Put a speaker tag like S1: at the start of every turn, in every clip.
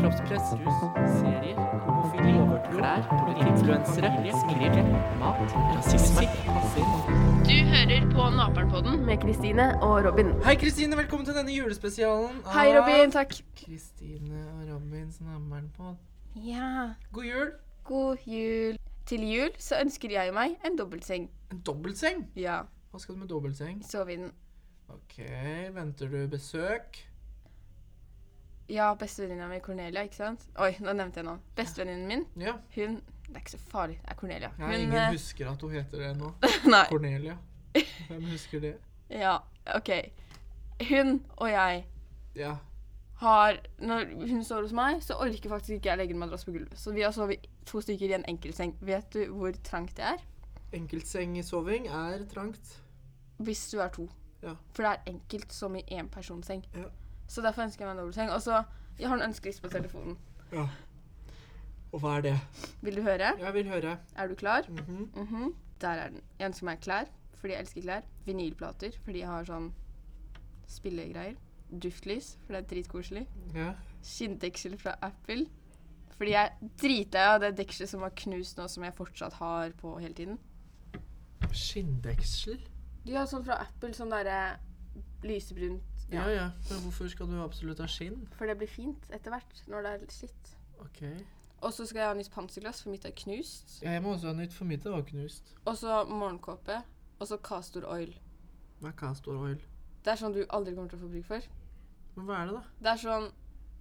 S1: kroppspress, rus, serier, homofili, klær, influensere, skrive, mat, rasisme,
S2: Du hører på Naperen-podden med Kristine og Robin.
S1: Hei, Kristine. Velkommen til denne julespesialen. av
S2: Hei, Robin. Takk.
S1: Kristine og Robin snammeren på.
S2: Ja,
S1: God jul.
S2: god jul. Til jul så ønsker jeg meg en dobbeltseng.
S1: En dobbeltseng.
S2: Ja,
S1: Hva skal du med dobbeltseng?
S2: sove i den.
S1: Ok, venter du besøk?
S2: Ja, bestevenninna mi Cornelia, ikke sant? Oi, nå nevnte jeg noe. Bestevenninnen min,
S1: Ja.
S2: hun Det er ikke så farlig, det er Cornelia.
S1: Nei,
S2: Hun
S1: ingen
S2: eh,
S1: husker at hun heter det nå.
S2: Nei.
S1: Cornelia. Hvem husker det?
S2: Ja, OK. Hun og jeg
S1: Ja.
S2: har Når hun sover hos meg, så orker faktisk ikke jeg legge en madrass på gulvet. Så vi har sovet to stykker i en enkeltseng. Vet du hvor trangt det er?
S1: Enkeltsengesoving er trangt.
S2: Hvis du er to.
S1: Ja.
S2: For det er enkelt som i enpersonseng.
S1: Ja.
S2: Så derfor ønsker jeg meg en dobbeltseng. Og så Jeg har en ønskeliste på telefonen.
S1: Ja. Og hva er det?
S2: Vil du høre?
S1: Jeg vil høre.
S2: Er du klar?
S1: Mhm.
S2: Mhm. Der er den. Jeg ønsker meg klær, fordi jeg elsker klær. Vinylplater, fordi jeg har sånn spillegreier. Duftlys, for det er dritkoselig.
S1: Ja.
S2: Skinndeksel fra Apple. Fordi jeg er dritlei av det dekselet som var knust nå, som jeg fortsatt har på hele tiden.
S1: Skinndeksel?
S2: De har sånn fra Apple, sånn derre lysebrunt
S1: Ja. ja Men hvorfor skal du absolutt ha skinn?
S2: For det blir fint etter hvert, når det er slitt.
S1: Ok.
S2: Og så skal jeg ha nytt panserglass, for mitt er knust.
S1: Ja, jeg må også ha nytt, for mitt var knust.
S2: Og så morgenkåpe. Og så Castor Oil.
S1: Hva er castor oil?
S2: Det er sånn du aldri kommer til å få bruk for.
S1: Men hva er det, da?
S2: Det er sånn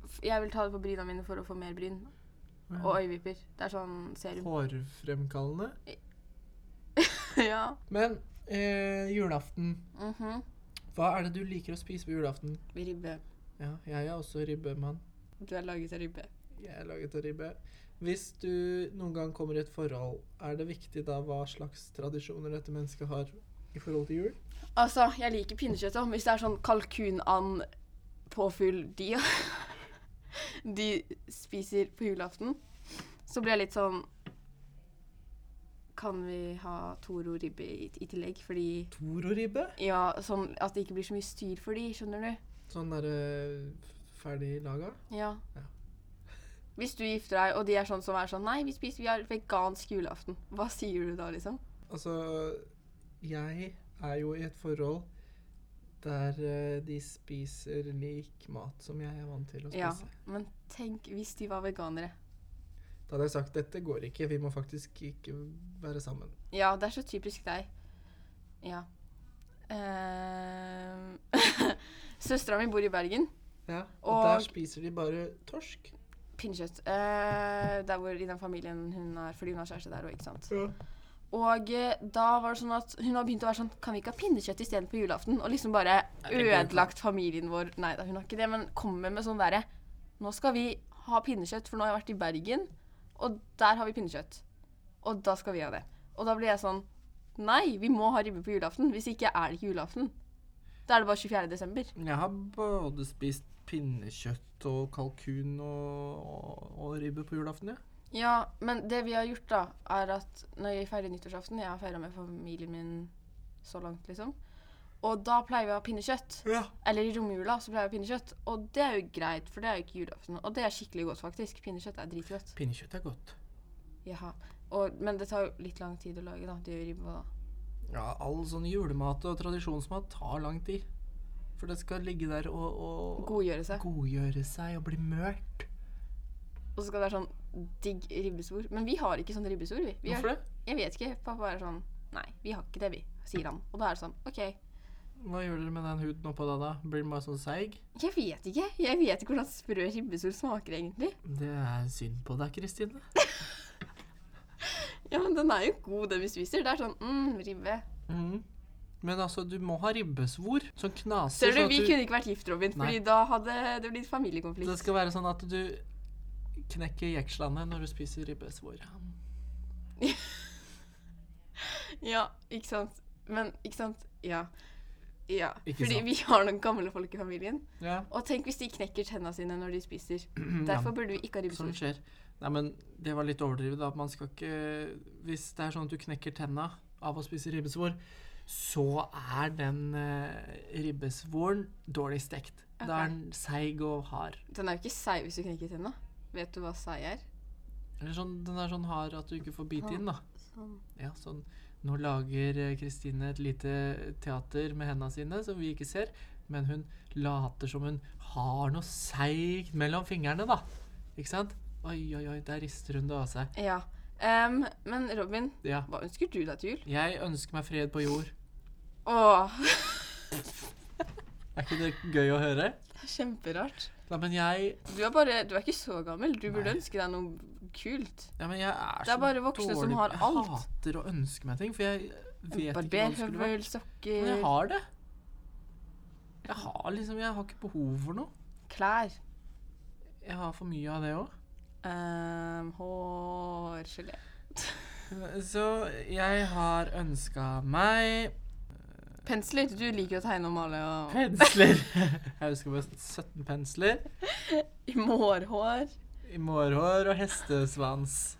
S2: f- Jeg vil ta det på bryna mine for å få mer bryn. Og øyevipper. Det er sånn serum.
S1: Hårfremkallende.
S2: ja.
S1: Men eh, julaften.
S2: Mhm.
S1: Hva er det du liker å spise på julaften?
S2: Ribbe.
S1: Ja, jeg er også ribbemann.
S2: Du er laget av ribbe.
S1: Jeg er laget av ribbe. Hvis du noen gang kommer i et forhold, er det viktig da hva slags tradisjoner dette mennesket har i forhold til jul?
S2: Altså, jeg liker pinnekjøtt òg, men hvis det er sånn kalkunand påfugl de de spiser på julaften, så blir jeg litt sånn Kan vi ha Toro ribbe i, i tillegg? Fordi
S1: Toro-ribbe?
S2: Ja, sånn at det ikke blir så mye styr for de, skjønner du?
S1: Sånn derre ferdig laga?
S2: Ja.
S1: Ja.
S2: Hvis du gifter deg, og de er sånn som er sånn Nei, vi spiser, vi har vegansk julaften. Hva sier du da, liksom?
S1: Altså, jeg er jo i et forhold der eh, de spiser lik mat som jeg er vant til å
S2: Ja.
S1: spise.
S2: Men tenk hvis de var veganere.
S1: Da hadde jeg sagt dette går ikke, vi må faktisk ikke være sammen.
S2: Ja, det er så typisk deg. Ja. Uh, Søstera mi bor i Bergen.
S1: Ja, og,
S2: Og-
S1: der spiser de bare torsk.
S2: Pinnekjøtt. Eh, der hvor i den familien hun er fordi hun har kjæreste der òg, ikke sant.
S1: Ja.
S2: Og eh, da var det sånn at hun har begynt å være sånn Kan vi ikke ha pinnekjøtt isteden på julaften? Og liksom bare
S1: Nei, det går ikke.
S2: ødelagt familien vår. Nei da, hun har ikke det, men kommer med sånn derre Nå skal vi ha pinnekjøtt, for nå har jeg vært i Bergen, og der har vi pinnekjøtt. Og da skal vi ha det. Og da blir jeg sånn Nei, vi må ha ribbe på julaften. Hvis ikke er det ikke julaften. Da er det bare 24. desember.
S1: Jeg har både spist pinnekjøtt og kalkun og, og, og ribbe på julaften, jeg.
S2: Ja, men det vi har gjort, da, er at når jeg feirer nyttårsaften Jeg har feira med familien min så langt, liksom. Og da pleier vi å ha pinnekjøtt.
S1: Ja.
S2: Eller i romjula så pleier jeg pinnekjøtt, og det er jo greit, for det er jo ikke julaften. Og det er skikkelig godt, faktisk. Pinnekjøtt er dritgodt.
S1: Pinnekjøtt er godt.
S2: Jaha. Og, men det tar jo litt lang tid å lage, da. Det gjør ribba, da.
S1: Ja, all sånn julemat og tradisjonsmat tar lang tid. For det skal ligge der og, og
S2: Godgjøre seg.
S1: godgjøre seg og bli mørt.
S2: Og så skal det være sånn digg ribbesvor. Men vi har ikke sånn ribbesvor, vi. vi har-
S1: Hvorfor det?
S2: Jeg vet ikke. Pappa er sånn Nei, vi har ikke det, vi, sier han. Og da er det sånn OK.
S1: Hva gjør dere med den huden oppå deg da? Blir den bare sånn seig?
S2: Jeg vet ikke. Jeg vet ikke hvordan sprø ribbesvor smaker, egentlig.
S1: Det er synd på deg, Kristine.
S2: Ja, men den er jo god, den vi spiser. Det er sånn mm, ribbe.
S1: Mhm. Men altså, du må ha ribbesvor som knaser.
S2: Ser du,
S1: sånn at
S2: vi kunne ikke vært gift, Robin,
S1: Nei.
S2: fordi da hadde det blitt familiekonflikt.
S1: Det skal være sånn at du knekker jekslene når du spiser ribbesvor.
S2: Ja, ikke sant. Men ikke sant? Ja. ja.
S1: Ikke
S2: Fordi
S1: sant.
S2: vi har noen gamle folk i familien.
S1: Ja.
S2: Og tenk hvis de knekker tenna sine når de spiser. Derfor burde vi ikke ha
S1: Sånn
S2: ribbesvor.
S1: skjer. Nei, men det var litt overdrivet. da. Man skal ikke Hvis det er sånn at du knekker tenna av å spise ribbesvor, så er den eh, ribbesvoren dårlig stekt. Da
S2: Ok.
S1: er den seig og hard. Sånn.
S2: Den er jo ikke seig hvis du knekker tenna. Vet du hva sei er?
S1: Eller sånn, den er sånn hard at du ikke får bite inn, da.
S2: Sånn.
S1: Ja, sånn. Nå lager eh, Kristine et lite teater med hendene sine, som vi ikke ser. Men hun later som hun har noe seigt mellom fingrene, da. Ikke sant? Oi, oi, oi, der rister hun det av seg.
S2: Ja. Em, men Robin,
S1: Ja.
S2: hva ønsker du deg til jul?
S1: Jeg ønsker meg fred på jord.
S2: Åh,
S1: Er ikke det gøy å høre?
S2: det er kjemperart.
S1: Nei, men jeg
S2: Du er, bare, du er ikke så gammel. Du burde
S1: Nei.
S2: ønske deg noe kult.
S1: Ja, men jeg er
S2: Det er
S1: så
S2: bare voksne som
S1: dårlig-
S2: har alt.
S1: Jeg hater å ønske meg ting, for jeg vet ikke hva det skulle vært.
S2: Barberhøvel,
S1: Men jeg
S2: sokker,
S1: har det. Jeg har liksom Jeg har ikke behov for noe.
S2: klær,
S1: Jeg har for mye av det òg.
S2: um, hårgelé.
S1: Så jeg har ønska meg
S2: Pensler. Du liker å tegne og male og
S1: pensler. Jeg ønsker meg 17 pensler
S2: i mårhår.
S1: i mårhår og hestesvans.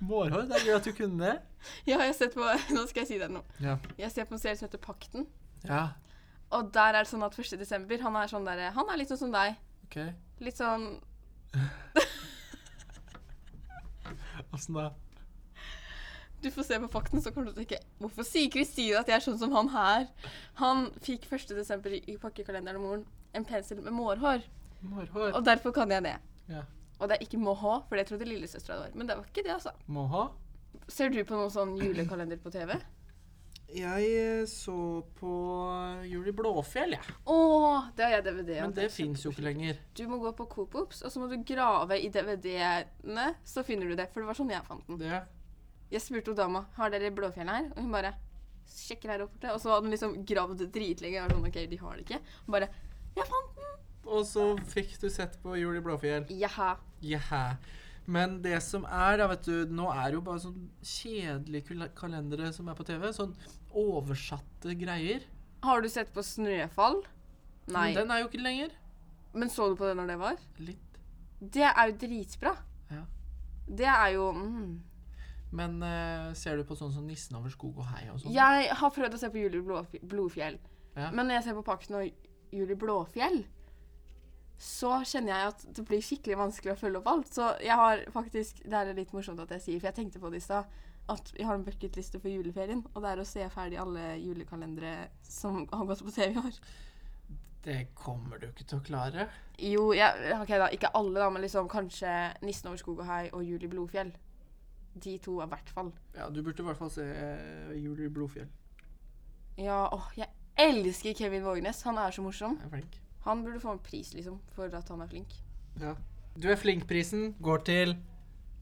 S1: Mårhår? Det er gøy at du kunne det.
S2: Ja, jeg har sett på Nå skal jeg si deg noe.
S1: Ja.
S2: Jeg ser på en serie som heter Pakten.
S1: ja.
S2: Og der er det sånn at 1. desember Han er, sånn der, han er litt sånn som deg.
S1: OK.
S2: Litt sånn
S1: Åssen da?
S2: Du får se på fakten, så kommer du til å tenke Hvorfor sier Kristine at jeg er sånn som han her? Han fikk 1. desember i pakkekalenderen om moren en pensel med mårhår.
S1: Mårhår.
S2: Og derfor kan jeg det.
S1: Ja.
S2: Og det er ikke måhå, for det trodde lillesøstera det var. Men det var ikke det, altså.
S1: Må ha.
S2: Ser du på noen sånn julekalender på TV?
S1: Jeg eh, så på Jul i Blåfjell, jeg.
S2: Å, det har jeg DVD av.
S1: Men det fins jo ikke lenger.
S2: Du må gå på Coopops, og så må du grave i DVD-ene, så finner du det. For det var sånn jeg fant den.
S1: Det.
S2: Jeg spurte hun dama har dere Blåfjell her, og hun bare sjekker her oppe. borte." Og så hadde hun liksom gravd dritlenge. Jeg var sånn, ok, de har det ikke. Hun bare jeg fant den!
S1: Og så fikk du sett på Jul i Blåfjell.
S2: Jaha.
S1: Jaha. Men det som er, da, vet du Nå er det jo bare sånn kjedelige kul- kalendere som er på TV. Sånn oversatte greier.
S2: Har du sett på Snøfall? Nei.
S1: Men Den er jo ikke lenger.
S2: Men så du på det når det var?
S1: Litt.
S2: Det er jo dritbra.
S1: Ja.
S2: Det er jo mm.
S1: Men eh, ser du på sånn som Nissen over skog og hei og sånn?
S2: Jeg har prøvd å se på Julie Blåf Blodfjell.
S1: Ja.
S2: Men når jeg ser på Pakten og Julie Blåfjell, så kjenner jeg at det blir skikkelig vanskelig å følge opp alt. Så jeg har faktisk Det er litt morsomt at jeg sier, for jeg tenkte på det i stad, at jeg har en bucketliste for juleferien, og det er å se ferdig alle julekalendere som har gått på TV i år.
S1: Det kommer du ikke til å klare.
S2: Jo, jeg, ok da, ikke alle, da, men liksom kanskje 'Nissen over skog og hei' og 'Julie Blodfjell'. De to er i hvert fall.
S1: Ja, Du burde i hvert fall se eh, Jul i Blodfjell.
S2: Ja, åh, jeg elsker Kevin Vågenes. Han er så morsom.
S1: Jeg er flink.
S2: Han burde få en pris, liksom, for at han er flink.
S1: Ja. Du er flink-prisen går til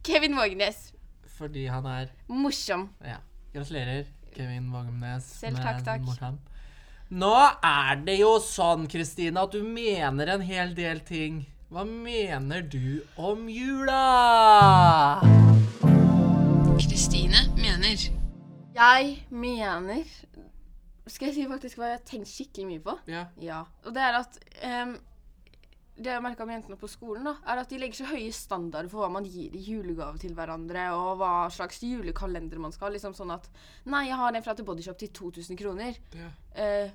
S2: Kevin Vågenes.
S1: fordi han er
S2: Morsom.
S1: Ja. Gratulerer, Kevin Vagemnes.
S2: Selv takk, takk.
S1: Morten. Nå er det jo sånn, Kristine, at du mener en hel del ting. Hva mener du om jula?
S3: Kristine mener.
S2: Jeg mener Skal jeg si faktisk hva jeg har tenkt skikkelig mye på?
S1: Ja.
S2: Ja. Og det er at ehm, Det jeg har merka med jentene på skolen, da, er at de legger så høye standarder for hva man gir i julegave til hverandre, og hva slags julekalender man skal ha. Liksom sånn at Nei, jeg har en fra The Body Shop til 2000 kroner. eh,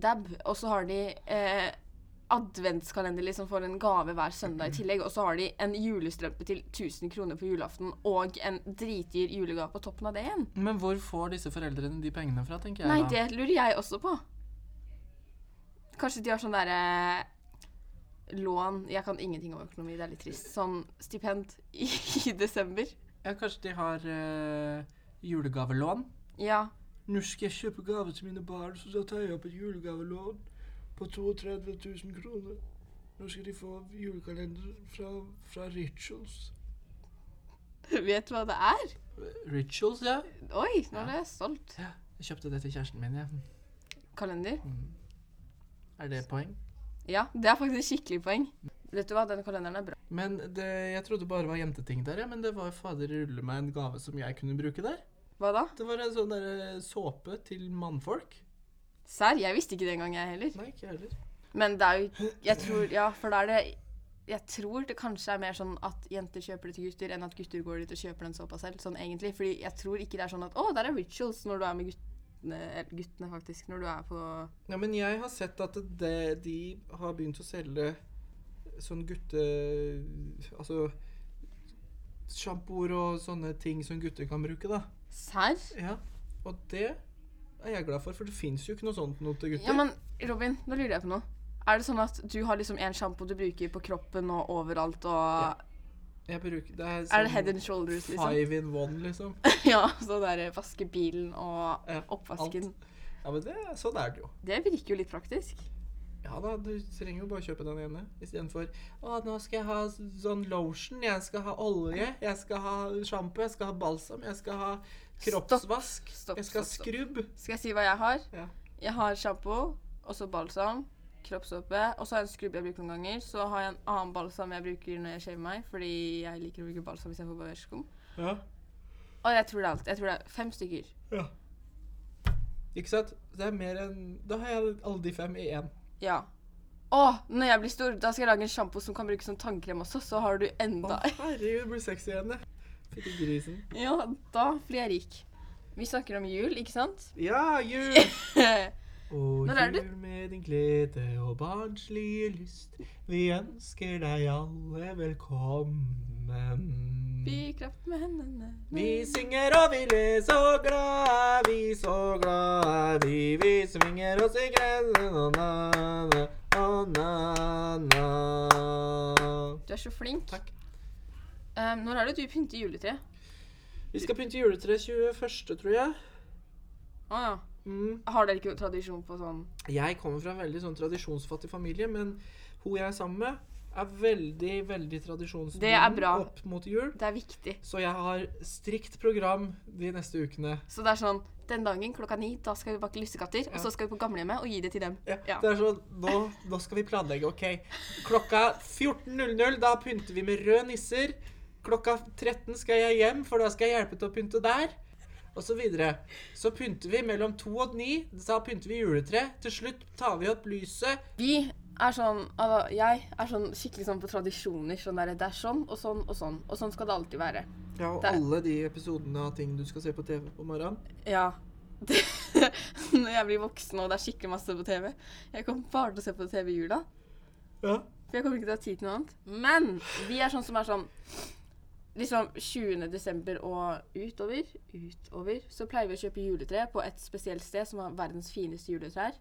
S2: dab, og så har de eh, adventskalender liksom for en gave hver søndag i tillegg, og så har de en julestrømpe til 1000 kroner på julaften og en dritdyr julegave på toppen av det igjen.
S1: Men hvor får disse foreldrene de pengene fra, tenker jeg
S2: Nei,
S1: da.
S2: det lurer jeg også på. Kanskje de har sånn derre lån Jeg kan ingenting om økonomi, det er litt trist. Sånn stipend i, i desember.
S1: Ja, kanskje de har eh, julegavelån?
S2: Ja.
S1: Nå skal jeg kjøpe gave til mine barn, så da tar jeg opp et julegavelån på 32 000 kroner. Nå skal de få julekalender fra, fra Rituals.
S2: Vet du hva det er?
S1: Rituals, ja.
S2: Oi, nå er det solgt.
S1: Jeg kjøpte det til kjæresten min, jeg.
S2: Kalender.
S1: Er det poeng?
S2: Ja, det er faktisk skikkelig poeng. Vet du hva, den kalenderen er bra.
S1: Men det, jeg trodde bare var jenteting der, ja. Men det var fader rulle meg en gave som jeg kunne bruke der.
S2: Hva da?
S1: Det var en sånn der eh, såpe til mannfolk.
S2: Serr? Jeg visste ikke det engang, jeg heller.
S1: Nei, ikke jeg heller.
S2: Men det er jo Jeg tror Ja, for da er det Jeg tror det kanskje er mer sånn at jenter kjøper det til gutter, enn at gutter går dit og kjøper den såpa selv, sånn egentlig. Fordi jeg tror ikke det er sånn at Å, der er rituals når du er med guttene, eller guttene faktisk, når du er på
S1: Ja, men jeg har sett at det, de har begynt å selge sånn gutte... Altså Sjampoer og sånne ting som gutter kan bruke, da.
S2: Serr?
S1: Ja. Og det er jeg glad for, for det fins jo ikke noe sånt noe til gutter.
S2: Ja, men Robin, da lurer jeg på noe. Er det sånn at du har liksom en sjampo du bruker på kroppen og overalt, og
S1: jeg bruker, det er,
S2: Er
S1: sånn
S2: det head and shoulders, liksom?
S1: Five in one, liksom.
S2: ja, så der eh, vaske bilen og
S1: Ja,
S2: oppvasken.
S1: Ja, men det, sånn er det jo.
S2: Det virker jo litt praktisk.
S1: Ja da, du trenger jo bare kjøpe den ene istedenfor Å, nå skal jeg ha sånn lotion, jeg skal ha olje, jeg skal ha sjampo, jeg skal ha balsam, jeg skal ha kroppsvask,
S2: Stopp,
S1: jeg skal ha
S2: stopp, stopp.
S1: skrubb.
S2: Skal jeg si hva jeg har?
S1: Ja.
S2: Jeg har sjampo, og så balsam, kroppsåpe, og så har jeg en skrubb jeg bruker noen ganger. Så har jeg en annen balsam jeg bruker når jeg shaver meg, fordi jeg liker å bruke balsam istedenfor barberskum.
S1: Ja.
S2: Og jeg tror det er alt. Jeg tror det er fem stykker.
S1: ja. Ikke sant? Det er mer enn Da har jeg alle de fem i én.
S2: Ja. Å, når jeg blir stor, da skal jeg lage en sjampo som kan brukes som tannkrem også, så har du
S1: Å,
S2: enda
S1: herregud, det blir sexy igjen, det. Fytti grisen.
S2: Ja, da blir jeg rik. Vi snakker om jul, ikke sant?
S1: Ja, jul! Og
S2: Når er det?
S1: jul med din glede og barnslige lyst. Vi ønsker deg alle velkommen.
S2: Bykraft med hendene
S1: Vi synger og vi ler så glad er vi, så glad er vi. Vi svinger oss i grensen og na-na, og na-na.
S2: Du er så flink.
S1: Takk.
S2: Eh, når er det du pynter juletre?
S1: Vi skal pynte juletre 21., tror jeg.
S2: Å ja.
S1: Mm.
S2: Har dere ikke tradisjon på sånn
S1: Jeg kommer fra en veldig sånn tradisjonsfattig familie, men hun jeg er sammen med, er veldig, veldig
S2: er
S1: tradisjonsbunden
S2: bra.
S1: opp mot jul.
S2: Det er viktig.
S1: Så jeg har strikt program de neste ukene.
S2: Så det er sånn Den dagen klokka ni, da skal vi bake lussekatter, og så skal vi på gamlehjemmet og gi det til dem.
S1: Ja.
S2: Ja.
S1: Det er sånn, nå, nå skal vi planlegge, OK. Klokka 14.00, da pynter vi med røde nisser. Klokka 13 skal jeg hjem, for da skal jeg hjelpe til å pynte der. Og så videre. Så pynter vi mellom to og ni. Da pynter vi juletre. Til slutt tar vi opp lyset.
S2: Vi er sånn altså, Jeg er sånn skikkelig sånn på tradisjoner. Sånn der, det er sånn og sånn og sånn. Og sånn skal det alltid være.
S1: Ja, og
S2: Det er-
S1: alle de episodene av ting du skal se på TV på morgenen.
S2: Ja. Det, når jeg blir voksen og det er skikkelig masse på TV Jeg kommer bare til å se på TV i jula.
S1: Ja.
S2: For jeg kommer ikke til å ha tid til noe annet. Men vi er sånn som er sånn Liksom 20. desember og utover, utover, så pleier vi å kjøpe juletre på et spesielt sted som har verdens fineste juletrær.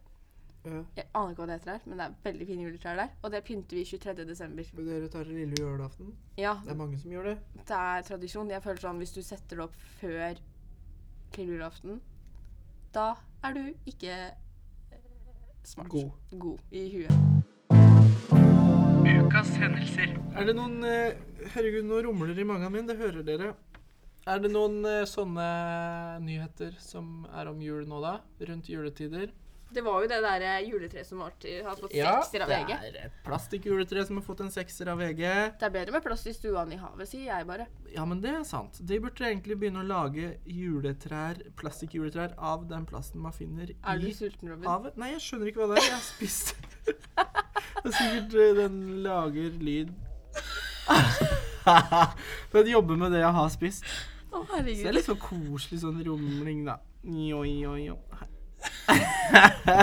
S1: ja.
S2: Jeg aner ikke hva det heter her, men det er veldig fine juletrær der. Og det pynter vi 23. desember.
S1: Men Dere tar det lille julaften.
S2: Ja,
S1: Det er mange som gjør det.
S2: det er tradisjon. Jeg føler sånn hvis du setter det opp før lille julaften, da er du ikke eh, smart.
S1: God.
S2: God i huet.
S1: Er det noen eh, Herregud, nå rumler det i magen min. Det hører dere.
S4: Er det noen eh, sånne nyheter som er om jul nå, da? Rundt juletider?
S2: Det var jo det der eh, juletreet som var til- har fått sekser av
S1: det
S2: VG.
S1: er et plastikkjuletre som har fått en sekser av VG.
S2: Det er bedre med plast i stua enn i havet, sier jeg bare.
S1: Ja, men det er sant. De burde egentlig begynne å lage juletrær, plastikkjuletrær av den plasten man finner
S2: Er du
S1: i
S2: sulten, Robin?
S1: havet. Nei, jeg skjønner ikke hva det er. Jeg har spist Det er sikkert eh, den lager lyd Den jobber med det jeg har spist. Så
S2: Å,
S1: det
S2: herregud.
S1: er litt sånn koselig sånn rumling, da. Jo, jo, jo.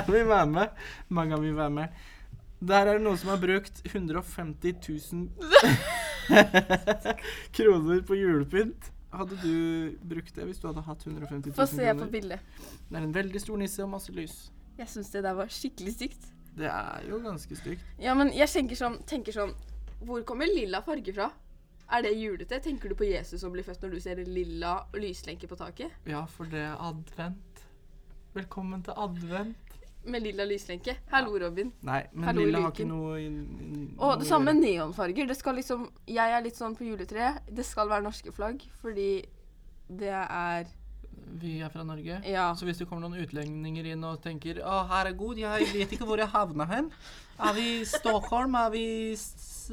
S1: vil være med. Mange vil være med. Der er det noen som har brukt 150 000 kroner på julepynt. Hadde du brukt det hvis du hadde hatt 150 000
S2: Få se på
S1: kroner?
S2: bildet.
S1: Det er en veldig stor nisse og masse lys.
S2: Jeg syns det der var skikkelig stygt.
S1: Det er jo ganske stygt.
S2: Ja, men jeg tenker sånn, tenker sånn Hvor kommer lilla farge fra? Er det julete? Tenker du på Jesus som blir født når du ser en lilla lyslenke på taket?
S4: Ja, for det er advent. Velkommen til advent.
S2: Med lilla lyslenke? Hallo, Robin.
S1: Nei, men
S2: Hallo i
S1: Lilla har ikke
S2: luken.
S1: noe i- i-
S2: Og det
S1: noe å
S2: samme
S1: gjøre.
S2: med neonfarger. Det skal liksom Jeg er litt sånn på juletreet. Det skal være norske flagg, fordi det er
S4: Vi er fra Norge.
S2: Ja.
S4: Så hvis det kommer noen utlendinger inn og tenker Å, herregud, jeg vet ikke hvor jeg havna hen. Er vi i Stockholm? Er vi i S-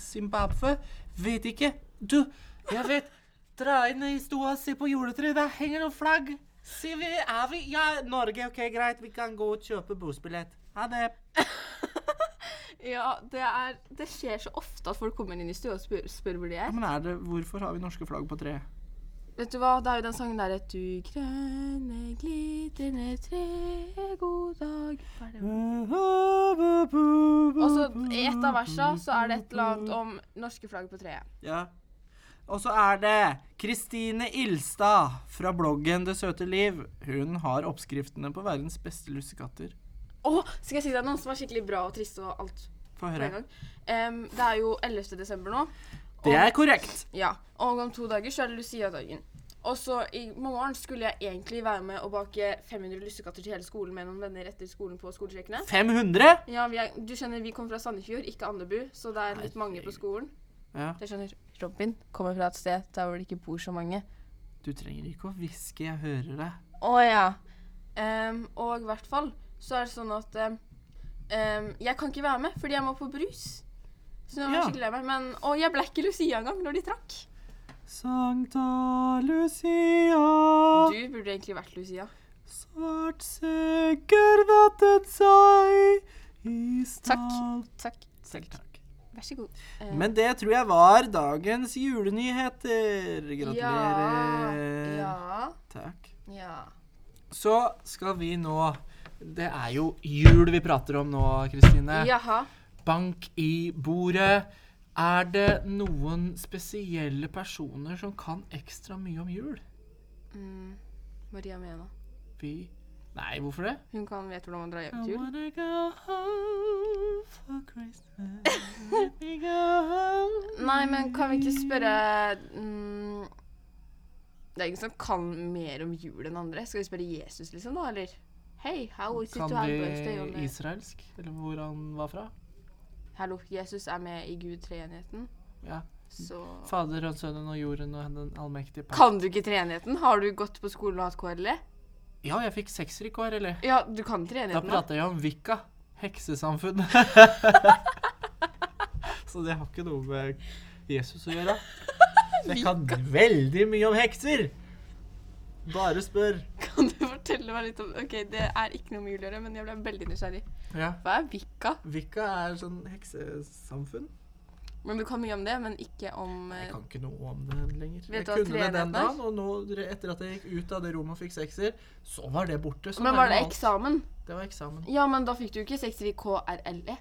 S4: Zimbabwe? Vet ikke. Du, jeg vet. Dra inn i stua og se på juletreet. Der henger noen flagg. Se, vi er vi Ja, Norge. OK, greit. Vi kan gå og kjøpe bussbillett. Ha det.
S2: Ja, det er Det skjer så ofte at folk kommer inn i stua og spør, spør hvor de
S1: Ja,
S2: er.
S1: men er det, Hvorfor har vi norske flagg på treet?
S2: Vet du hva, det er jo den sangen derre Du grønne, glitrende tre, god dag Hva er det? Og så i et av versa så er det et eller annet om norske flagg på treet.
S1: Ja. Og så er det Kristine Ilstad fra bloggen Det søte liv. Hun har oppskriftene på verdens beste lussekatter.
S2: Å, skal jeg si deg noen som er skikkelig bra og triste og alt
S1: Få
S2: på en
S1: høre.
S2: gang? Em, det er jo 11. desember nå.
S1: Det er korrekt.
S2: Ja, og om to dager så er det Lucia-dagen. Og så i morgen skulle jeg egentlig være med og bake 500 lussekatter til hele skolen med noen venner etter skolen på skoletrekkene.
S1: 500?
S2: Ja, vi er, du skjønner, vi kommer fra Sandefjord, ikke Andebu, så det er litt mange på skolen.
S1: Ja.
S2: Det skjønner. Robin kommer fra et sted der hvor det ikke bor så mange.
S1: Du trenger ikke å hviske, jeg hører deg.
S2: Å ja. Em, og i hvert fall så er det sånn at em, em, jeg kan ikke være med fordi jeg må på brus. Så nå er jeg
S1: Ja.
S2: skikkelig lei meg. Men og jeg ble ikke Lucia engang når de trakk.
S1: Sankta Lucia,
S2: Du burde egentlig vært Lucia.
S1: svart sekker vattet seg i
S2: Takk. Takk.
S1: Selv takk.
S2: Vær så god. Em,
S1: Men det tror jeg var dagens julenyheter. Gratulerer.
S2: Ja.
S1: Takk.
S2: Ja. ja.
S1: Så skal vi nå Det er jo jul vi prater om nå, Kristine.
S2: Jaha.
S4: Bank i bordet. Er det noen spesielle personer som kan ekstra mye om jul?
S2: Mm. Maria Mena.
S4: Vi Nei, hvorfor det?
S2: Hun kan vet hvordan man drar hjem
S4: I
S2: til jul.
S4: wanna go home for Christmas. Let me go home.
S2: Nei, men kan vi ikke spørre mm, Det er ingen som kan mer om jul enn andre. Skal vi spørre Jesus, liksom, da, eller? Hei, how is it
S4: Kan
S2: to have birthday on
S4: de
S2: the-
S4: israelsk? Eller hvor han var fra?
S2: Hallo, Jesus er med i Gud treenigheten,
S4: Ja.
S2: så
S4: Fader og Sønnen og Jorden og Den allmektige Pakt.
S2: Kan du ikke treenigheten? Har du gått på skolen og hatt KRLE?
S4: Ja, jeg fikk sekser i KRL.
S2: Ja, du kan
S4: Da
S2: treenigheten.
S4: prata jeg om Vika. Heksesamfunnet. Så det har ikke noe med Jesus å gjøre.
S1: Jeg kan veldig mye om hekser. Bare spør.
S2: Kan du fortelle meg litt om OK, det er ikke noe med jul å gjøre, men jeg ble veldig nysgjerrig.
S4: Ja.
S2: Hva er vikka?
S1: Vika er sånn heksesamfunn.
S2: Men du kan mye om det, men ikke om eh,
S1: Jeg kan ikke noe om det lenger. Jeg
S2: Vet du hva
S1: kunne det
S2: treenigheten
S1: den
S2: er?
S1: dagen, og nå, etter at jeg gikk ut av det rommet og fikk sekser, så var det borte. Så
S2: Men var det
S1: alt.
S2: eksamen?
S1: Det var eksamen.
S2: Ja, men da fikk du ikke sekser i KRLE.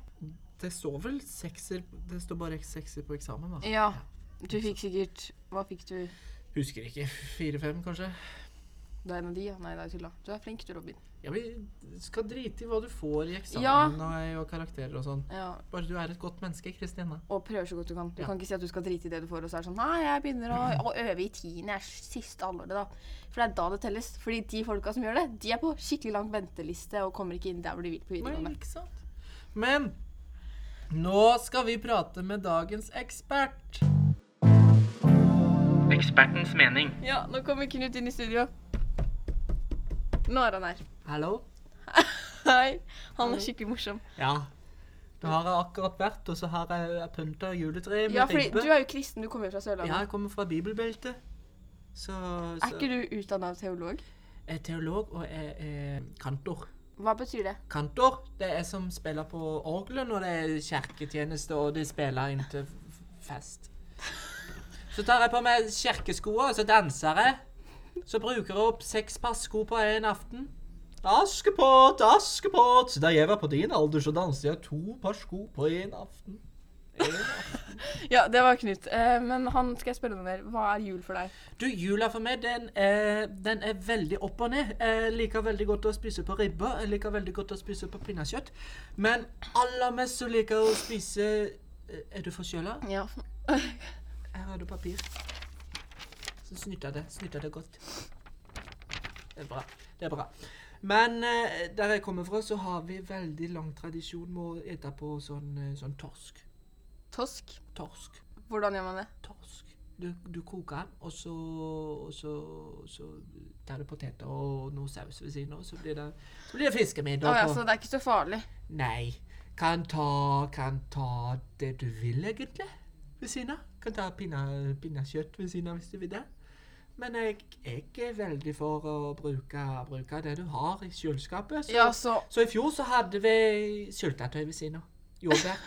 S1: Det står vel sekser Det står bare sekser på eksamen, da.
S2: Ja. Du fikk sikkert Hva fikk du?
S1: Husker ikke. Fire-fem, kanskje.
S2: Du er en av de, ja. Nei, det er tulla. Du er flink, du, Robin.
S1: Ja, vi skal drite i hva du får i eksamen
S2: Ja.
S1: og, og karakterer og sånn.
S2: Ja.
S1: Bare du er et godt menneske, Kristine.
S2: Og prøver så godt du kan. Du
S1: Ja.
S2: kan ikke si at du skal drite i det du får, og så er det sånn Nei, jeg begynner å, å øve i tiende. Jeg er siste halvåret, da. For det er da det telles. Fordi de folka som gjør det, de er på skikkelig lang venteliste og kommer ikke inn der hvor de vil på videregående.
S1: ikke sant? Men nå skal vi prate med dagens ekspert. Ekspertens mening.
S2: Ja, nå kommer Knut inn i studio. Nå er han her.
S1: Hallo?
S2: Hei. Han er skikkelig morsom.
S1: Ja. Nå har jeg akkurat vært, og så har jeg jeg pynta juletreet med
S2: Ja, fordi
S1: ribbe.
S2: du er jo kristen. Du kommer jo fra
S1: Ja,
S2: Sørlandet.
S1: jeg kommer fra bibelbeltet. Så, så
S2: Er ikke du utdanna teolog?
S1: Jeg er teolog og jeg er kantor.
S2: Hva betyr det?
S1: Kantor, det er som spiller på orgelet når det er kirketjeneste, og de spiller inn til f- fest. Så tar jeg på meg kirkeskoa, og så danser jeg. Så bruker jeg opp seks par sko på en aften. Askepott, Askepott! Da jeg var på din alder, så danset jeg to par sko på en aften. En aften.
S2: Ja, det var Knut. Eh, men han skal jeg spørre noe mer. Hva er jul for deg?
S1: Du, jula for meg, den er, den er veldig opp og ned. Jeg liker veldig godt å spise på ribba, jeg liker veldig godt å spise på pinnekjøtt. Men aller mest så liker jeg å spise eh, Er du forkjøla?
S2: Ja.
S1: Her har du papir. Så snytter jeg det. Snytter jeg det godt. Det er bra. Det er bra. Men eh, der jeg kommer fra, så har vi veldig lang tradisjon med å ete på sånn, eh, sånn torsk.
S2: Tosk.
S1: Torsk.
S2: Hvordan gjør man det?
S1: torsk. Du, du koker den, og så, og så, så tar du poteter og noe saus ved siden av, så blir det, så blir det fiskemiddag.
S2: Å ja,
S1: på-
S2: så det er ikke så farlig.
S1: Nei. Kan ta, kan ta det du vil, egentlig, ved siden av. Kan ta pinna- pinnekjøtt ved siden av hvis du vil det. Men jeg, jeg er veldig for å bruke, bruke det du har i kjøleskapet. Så,
S2: Ja, så
S1: så i fjor så hadde vi syltetøy ved siden av. Jordbær.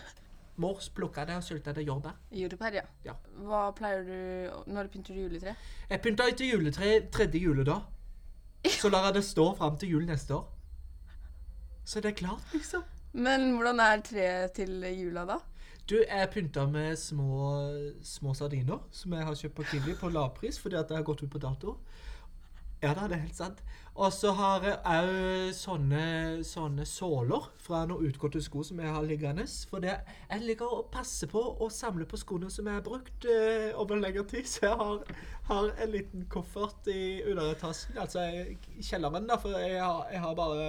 S1: Mors plukka det og sylta det jordbær.
S2: Jordbær, ja.
S1: Ja.
S2: Hva pleier du Når pynter du juletre?
S1: Jeg pynta etter juletre tredje juledag. Så lar jeg det stå fram til jul neste år. Så det er klart, liksom.
S2: Men hvordan er treet til jula, da?
S1: Du, jeg pynta med små, små sardiner som jeg har kjøpt på Kiwi på lavpris fordi at det har gått ut på dato. Ja da, det er helt sant. Og så har jeg òg sånne, sånne såler fra noen utgåtte sko som jeg har liggende. For det, jeg ligger og passer på å samle på skoene som jeg har brukt eh, over lengre tid. Så jeg har, har en liten koffert i underetasjen, altså i kjelleren, da, for jeg har, jeg har bare,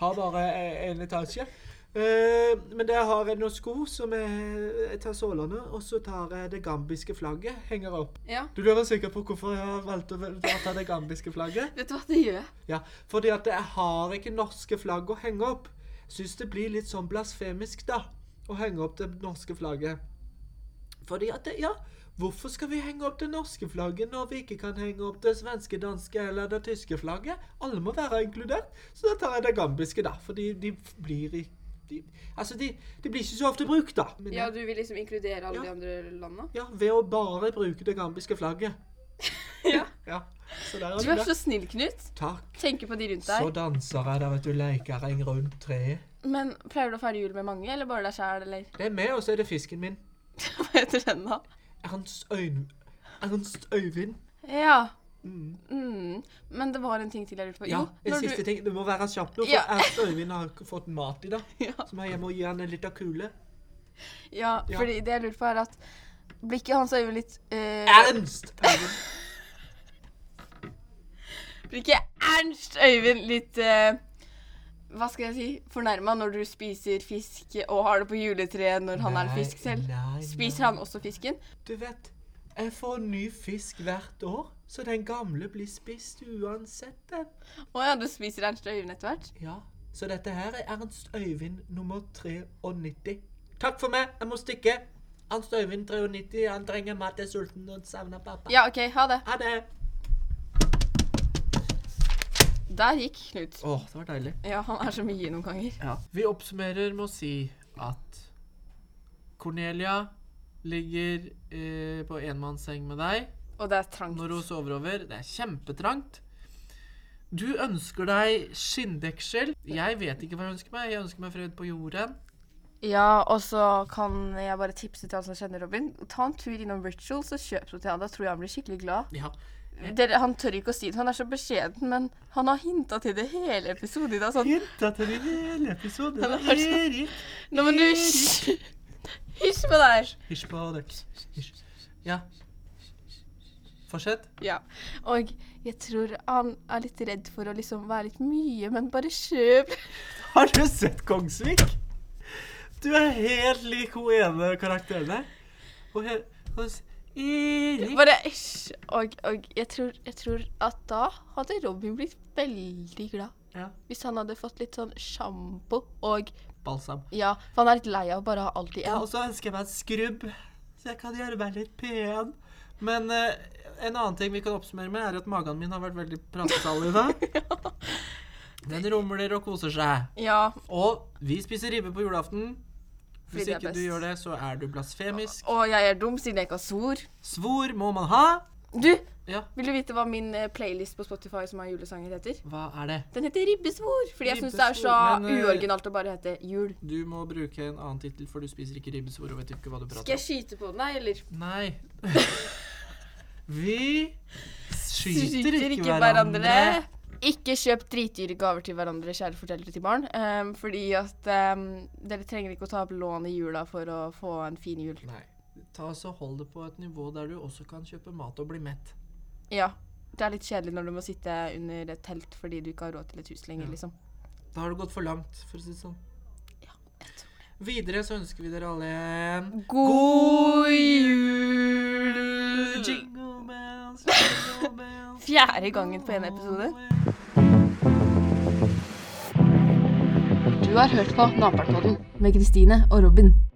S1: har bare en etasje. Eh, men der har jeg noen sko som jeg, jeg tar sålene, og så tar jeg det gambiske flagget, henger opp.
S2: Ja.
S1: Du lurer sikkert på hvorfor jeg har valgt å vel- å ta det gambiske flagget?
S2: Vet du hva det gjør?
S1: Ja, fordi at jeg har ikke norske flagg å henge opp. Syns det blir litt sånn blasfemisk, da, å henge opp det norske flagget. Fordi at det, ja, hvorfor skal vi henge opp det norske flagget når vi ikke kan henge opp det svenske, danske eller det tyske flagget? Alle må være inkludert. Så da tar jeg det gambiske, da. Fordi de f- blir i de, Altså, de, de blir ikke så ofte brukt, da. Men
S2: Ja, du vil liksom inkludere alle
S1: Ja.
S2: de andre landa?
S1: ja, ved å bare bruke det gambiske flagget.
S2: Ja.
S1: Ja, så der
S2: Du
S1: er
S2: er
S1: du
S2: så
S1: det.
S2: snill, Knut.
S1: Takk.
S2: Tenker på de rundt
S1: Så
S2: deg.
S1: danser jeg da, vet du, leikering rundt treet.
S2: Men pleier du å feire jul med mange, eller bare deg sjæl, eller
S1: Det er meg, og så er det fisken min.
S2: hva heter den, da?
S1: Ernst Øyn... Ernst Øyvind.
S2: Ja.
S1: Mm.
S2: Mm. Men det var en ting til jeg lurte på.
S1: Ja, en
S2: når
S1: siste
S2: du...
S1: ting. Du må være kjapp nå, for
S2: Ja.
S1: Ernst Øyvind har ikke fått mat i dag.
S2: Ja.
S1: Så må jeg hjem og gi han en liten kule.
S2: ja,
S1: Ja.
S2: fordi det jeg lurte på, er at blikket hans er jo litt eh,
S1: Ernst Øyvind!
S2: Blikket Ernst Øyvind litt eh, Hva skal jeg si? Fornærma når du spiser fisk og har det på juletreet når han er en
S1: Nei,
S2: fisk selv.
S1: nei,
S2: Spiser
S1: nei.
S2: han også fisken?
S1: Du vet, jeg får ny fisk hvert år, så den gamle blir spist uansett, den.
S2: Å ja, du spiser Ernst Øyvind etter hvert?
S1: Ja, så dette her er Ernst Øyvind nummer 93. Takk for meg, jeg må stikke. Ernst Øyvind 93, han trenger mat, er sulten og savner pappa.
S2: Ja, OK, ha det.
S1: Ha det!
S2: Der gikk Knut.
S1: Åh, det var deilig.
S2: Ja, han er så mye noen ganger.
S4: Ja. Vi oppsummerer med å si at Cornelia ligger eh, på enmannsseng med deg
S2: Og det er trangt.
S4: når hun sover over. Det er kjempetrangt. Du ønsker deg skinndeksel. Jeg vet ikke hva jeg ønsker meg. Jeg ønsker meg fred på jorden.
S2: Ja, og så kan jeg bare tipse til han som kjenner Robin. Ta en tur innom Ritual, så kjøp noe til han. Da tror jeg han blir skikkelig glad.
S4: Ja.
S2: Dere, han tør ikke å si det, han er så beskjeden, men han har hinta til det hele episoden i dag. Sånn
S1: Jenta til din hele episode.
S2: Han
S1: Det
S2: er
S1: er
S2: så-
S1: Erik.
S2: Nå må du hysj! Hysj på deg!
S1: Hysj på deg. Hysj.
S4: ja. Fortsett.
S2: Ja. Og jeg tror han er litt redd for å liksom være litt mye, men bare kjøp.
S1: Har du sett Kongsvik? Du er helt lik hun ene karakteren der. Hun er hos Erik.
S2: Bare hysj. Og, og jeg, tror, jeg tror at da hadde Robin blitt veldig glad.
S4: Ja.
S2: Hvis han hadde fått litt sånn sjampo og
S4: Balsam.
S2: Ja, for han er litt lei av å bare ha alt i
S1: Ja,
S2: én.
S1: og så ønsker jeg meg en skrubb, så jeg kan gjøre meg litt pen. Men eh, en annen ting vi kan oppsummere med, er at magen min har vært veldig pratesalig i dag. Den rumler og koser seg.
S2: Ja,
S4: Og vi spiser ribbe på julaften.
S2: Fordi
S4: Hvis
S2: det er
S4: ikke du
S2: best.
S4: gjør det, så er du blasfemisk.
S2: og jeg er dum siden jeg ikke har sor.
S4: Svor må man ha.
S2: Du,
S4: Ja,
S2: vil du vite hva min eh, playlist på Spotify som er julesanger heter?
S4: hva er det?
S2: Den heter Ribbesvor, fordi jeg syns det er så
S4: Ribbesvor, men, eh,
S2: uoriginalt å bare hete jul.
S4: Du må bruke en annen tittel, for du spiser ikke ribbesvor og vet ikke hva du
S2: Skal
S4: prater
S2: jeg skyte på den, nei, eller?
S4: om. Nei. Vi skyter
S2: Skyter
S4: ikke hverandre.
S2: Ikke kjøp dritdyre gaver til hverandre, kjære foreldre til barn. ehm, fordi at ehm, dere trenger ikke å ta opp lån i jula for å få en fin jul.
S4: Nei. Ta oss og Hold det på et nivå der du også kan kjøpe mat og bli mett.
S2: Ja. Det er litt kjedelig når du må sitte under et telt fordi du ikke har råd til et hus lenger,
S4: Ja.
S2: liksom.
S4: Da har det gått for langt, for å si det sånn.
S2: Ja, jeg tror
S4: Videre så ønsker vi dere alle en
S2: God jul!
S4: Jingle bells, jingle bells
S2: Fjerde gangen på en episode. Du har hørt på Naperen-podden med Kristine og Robin.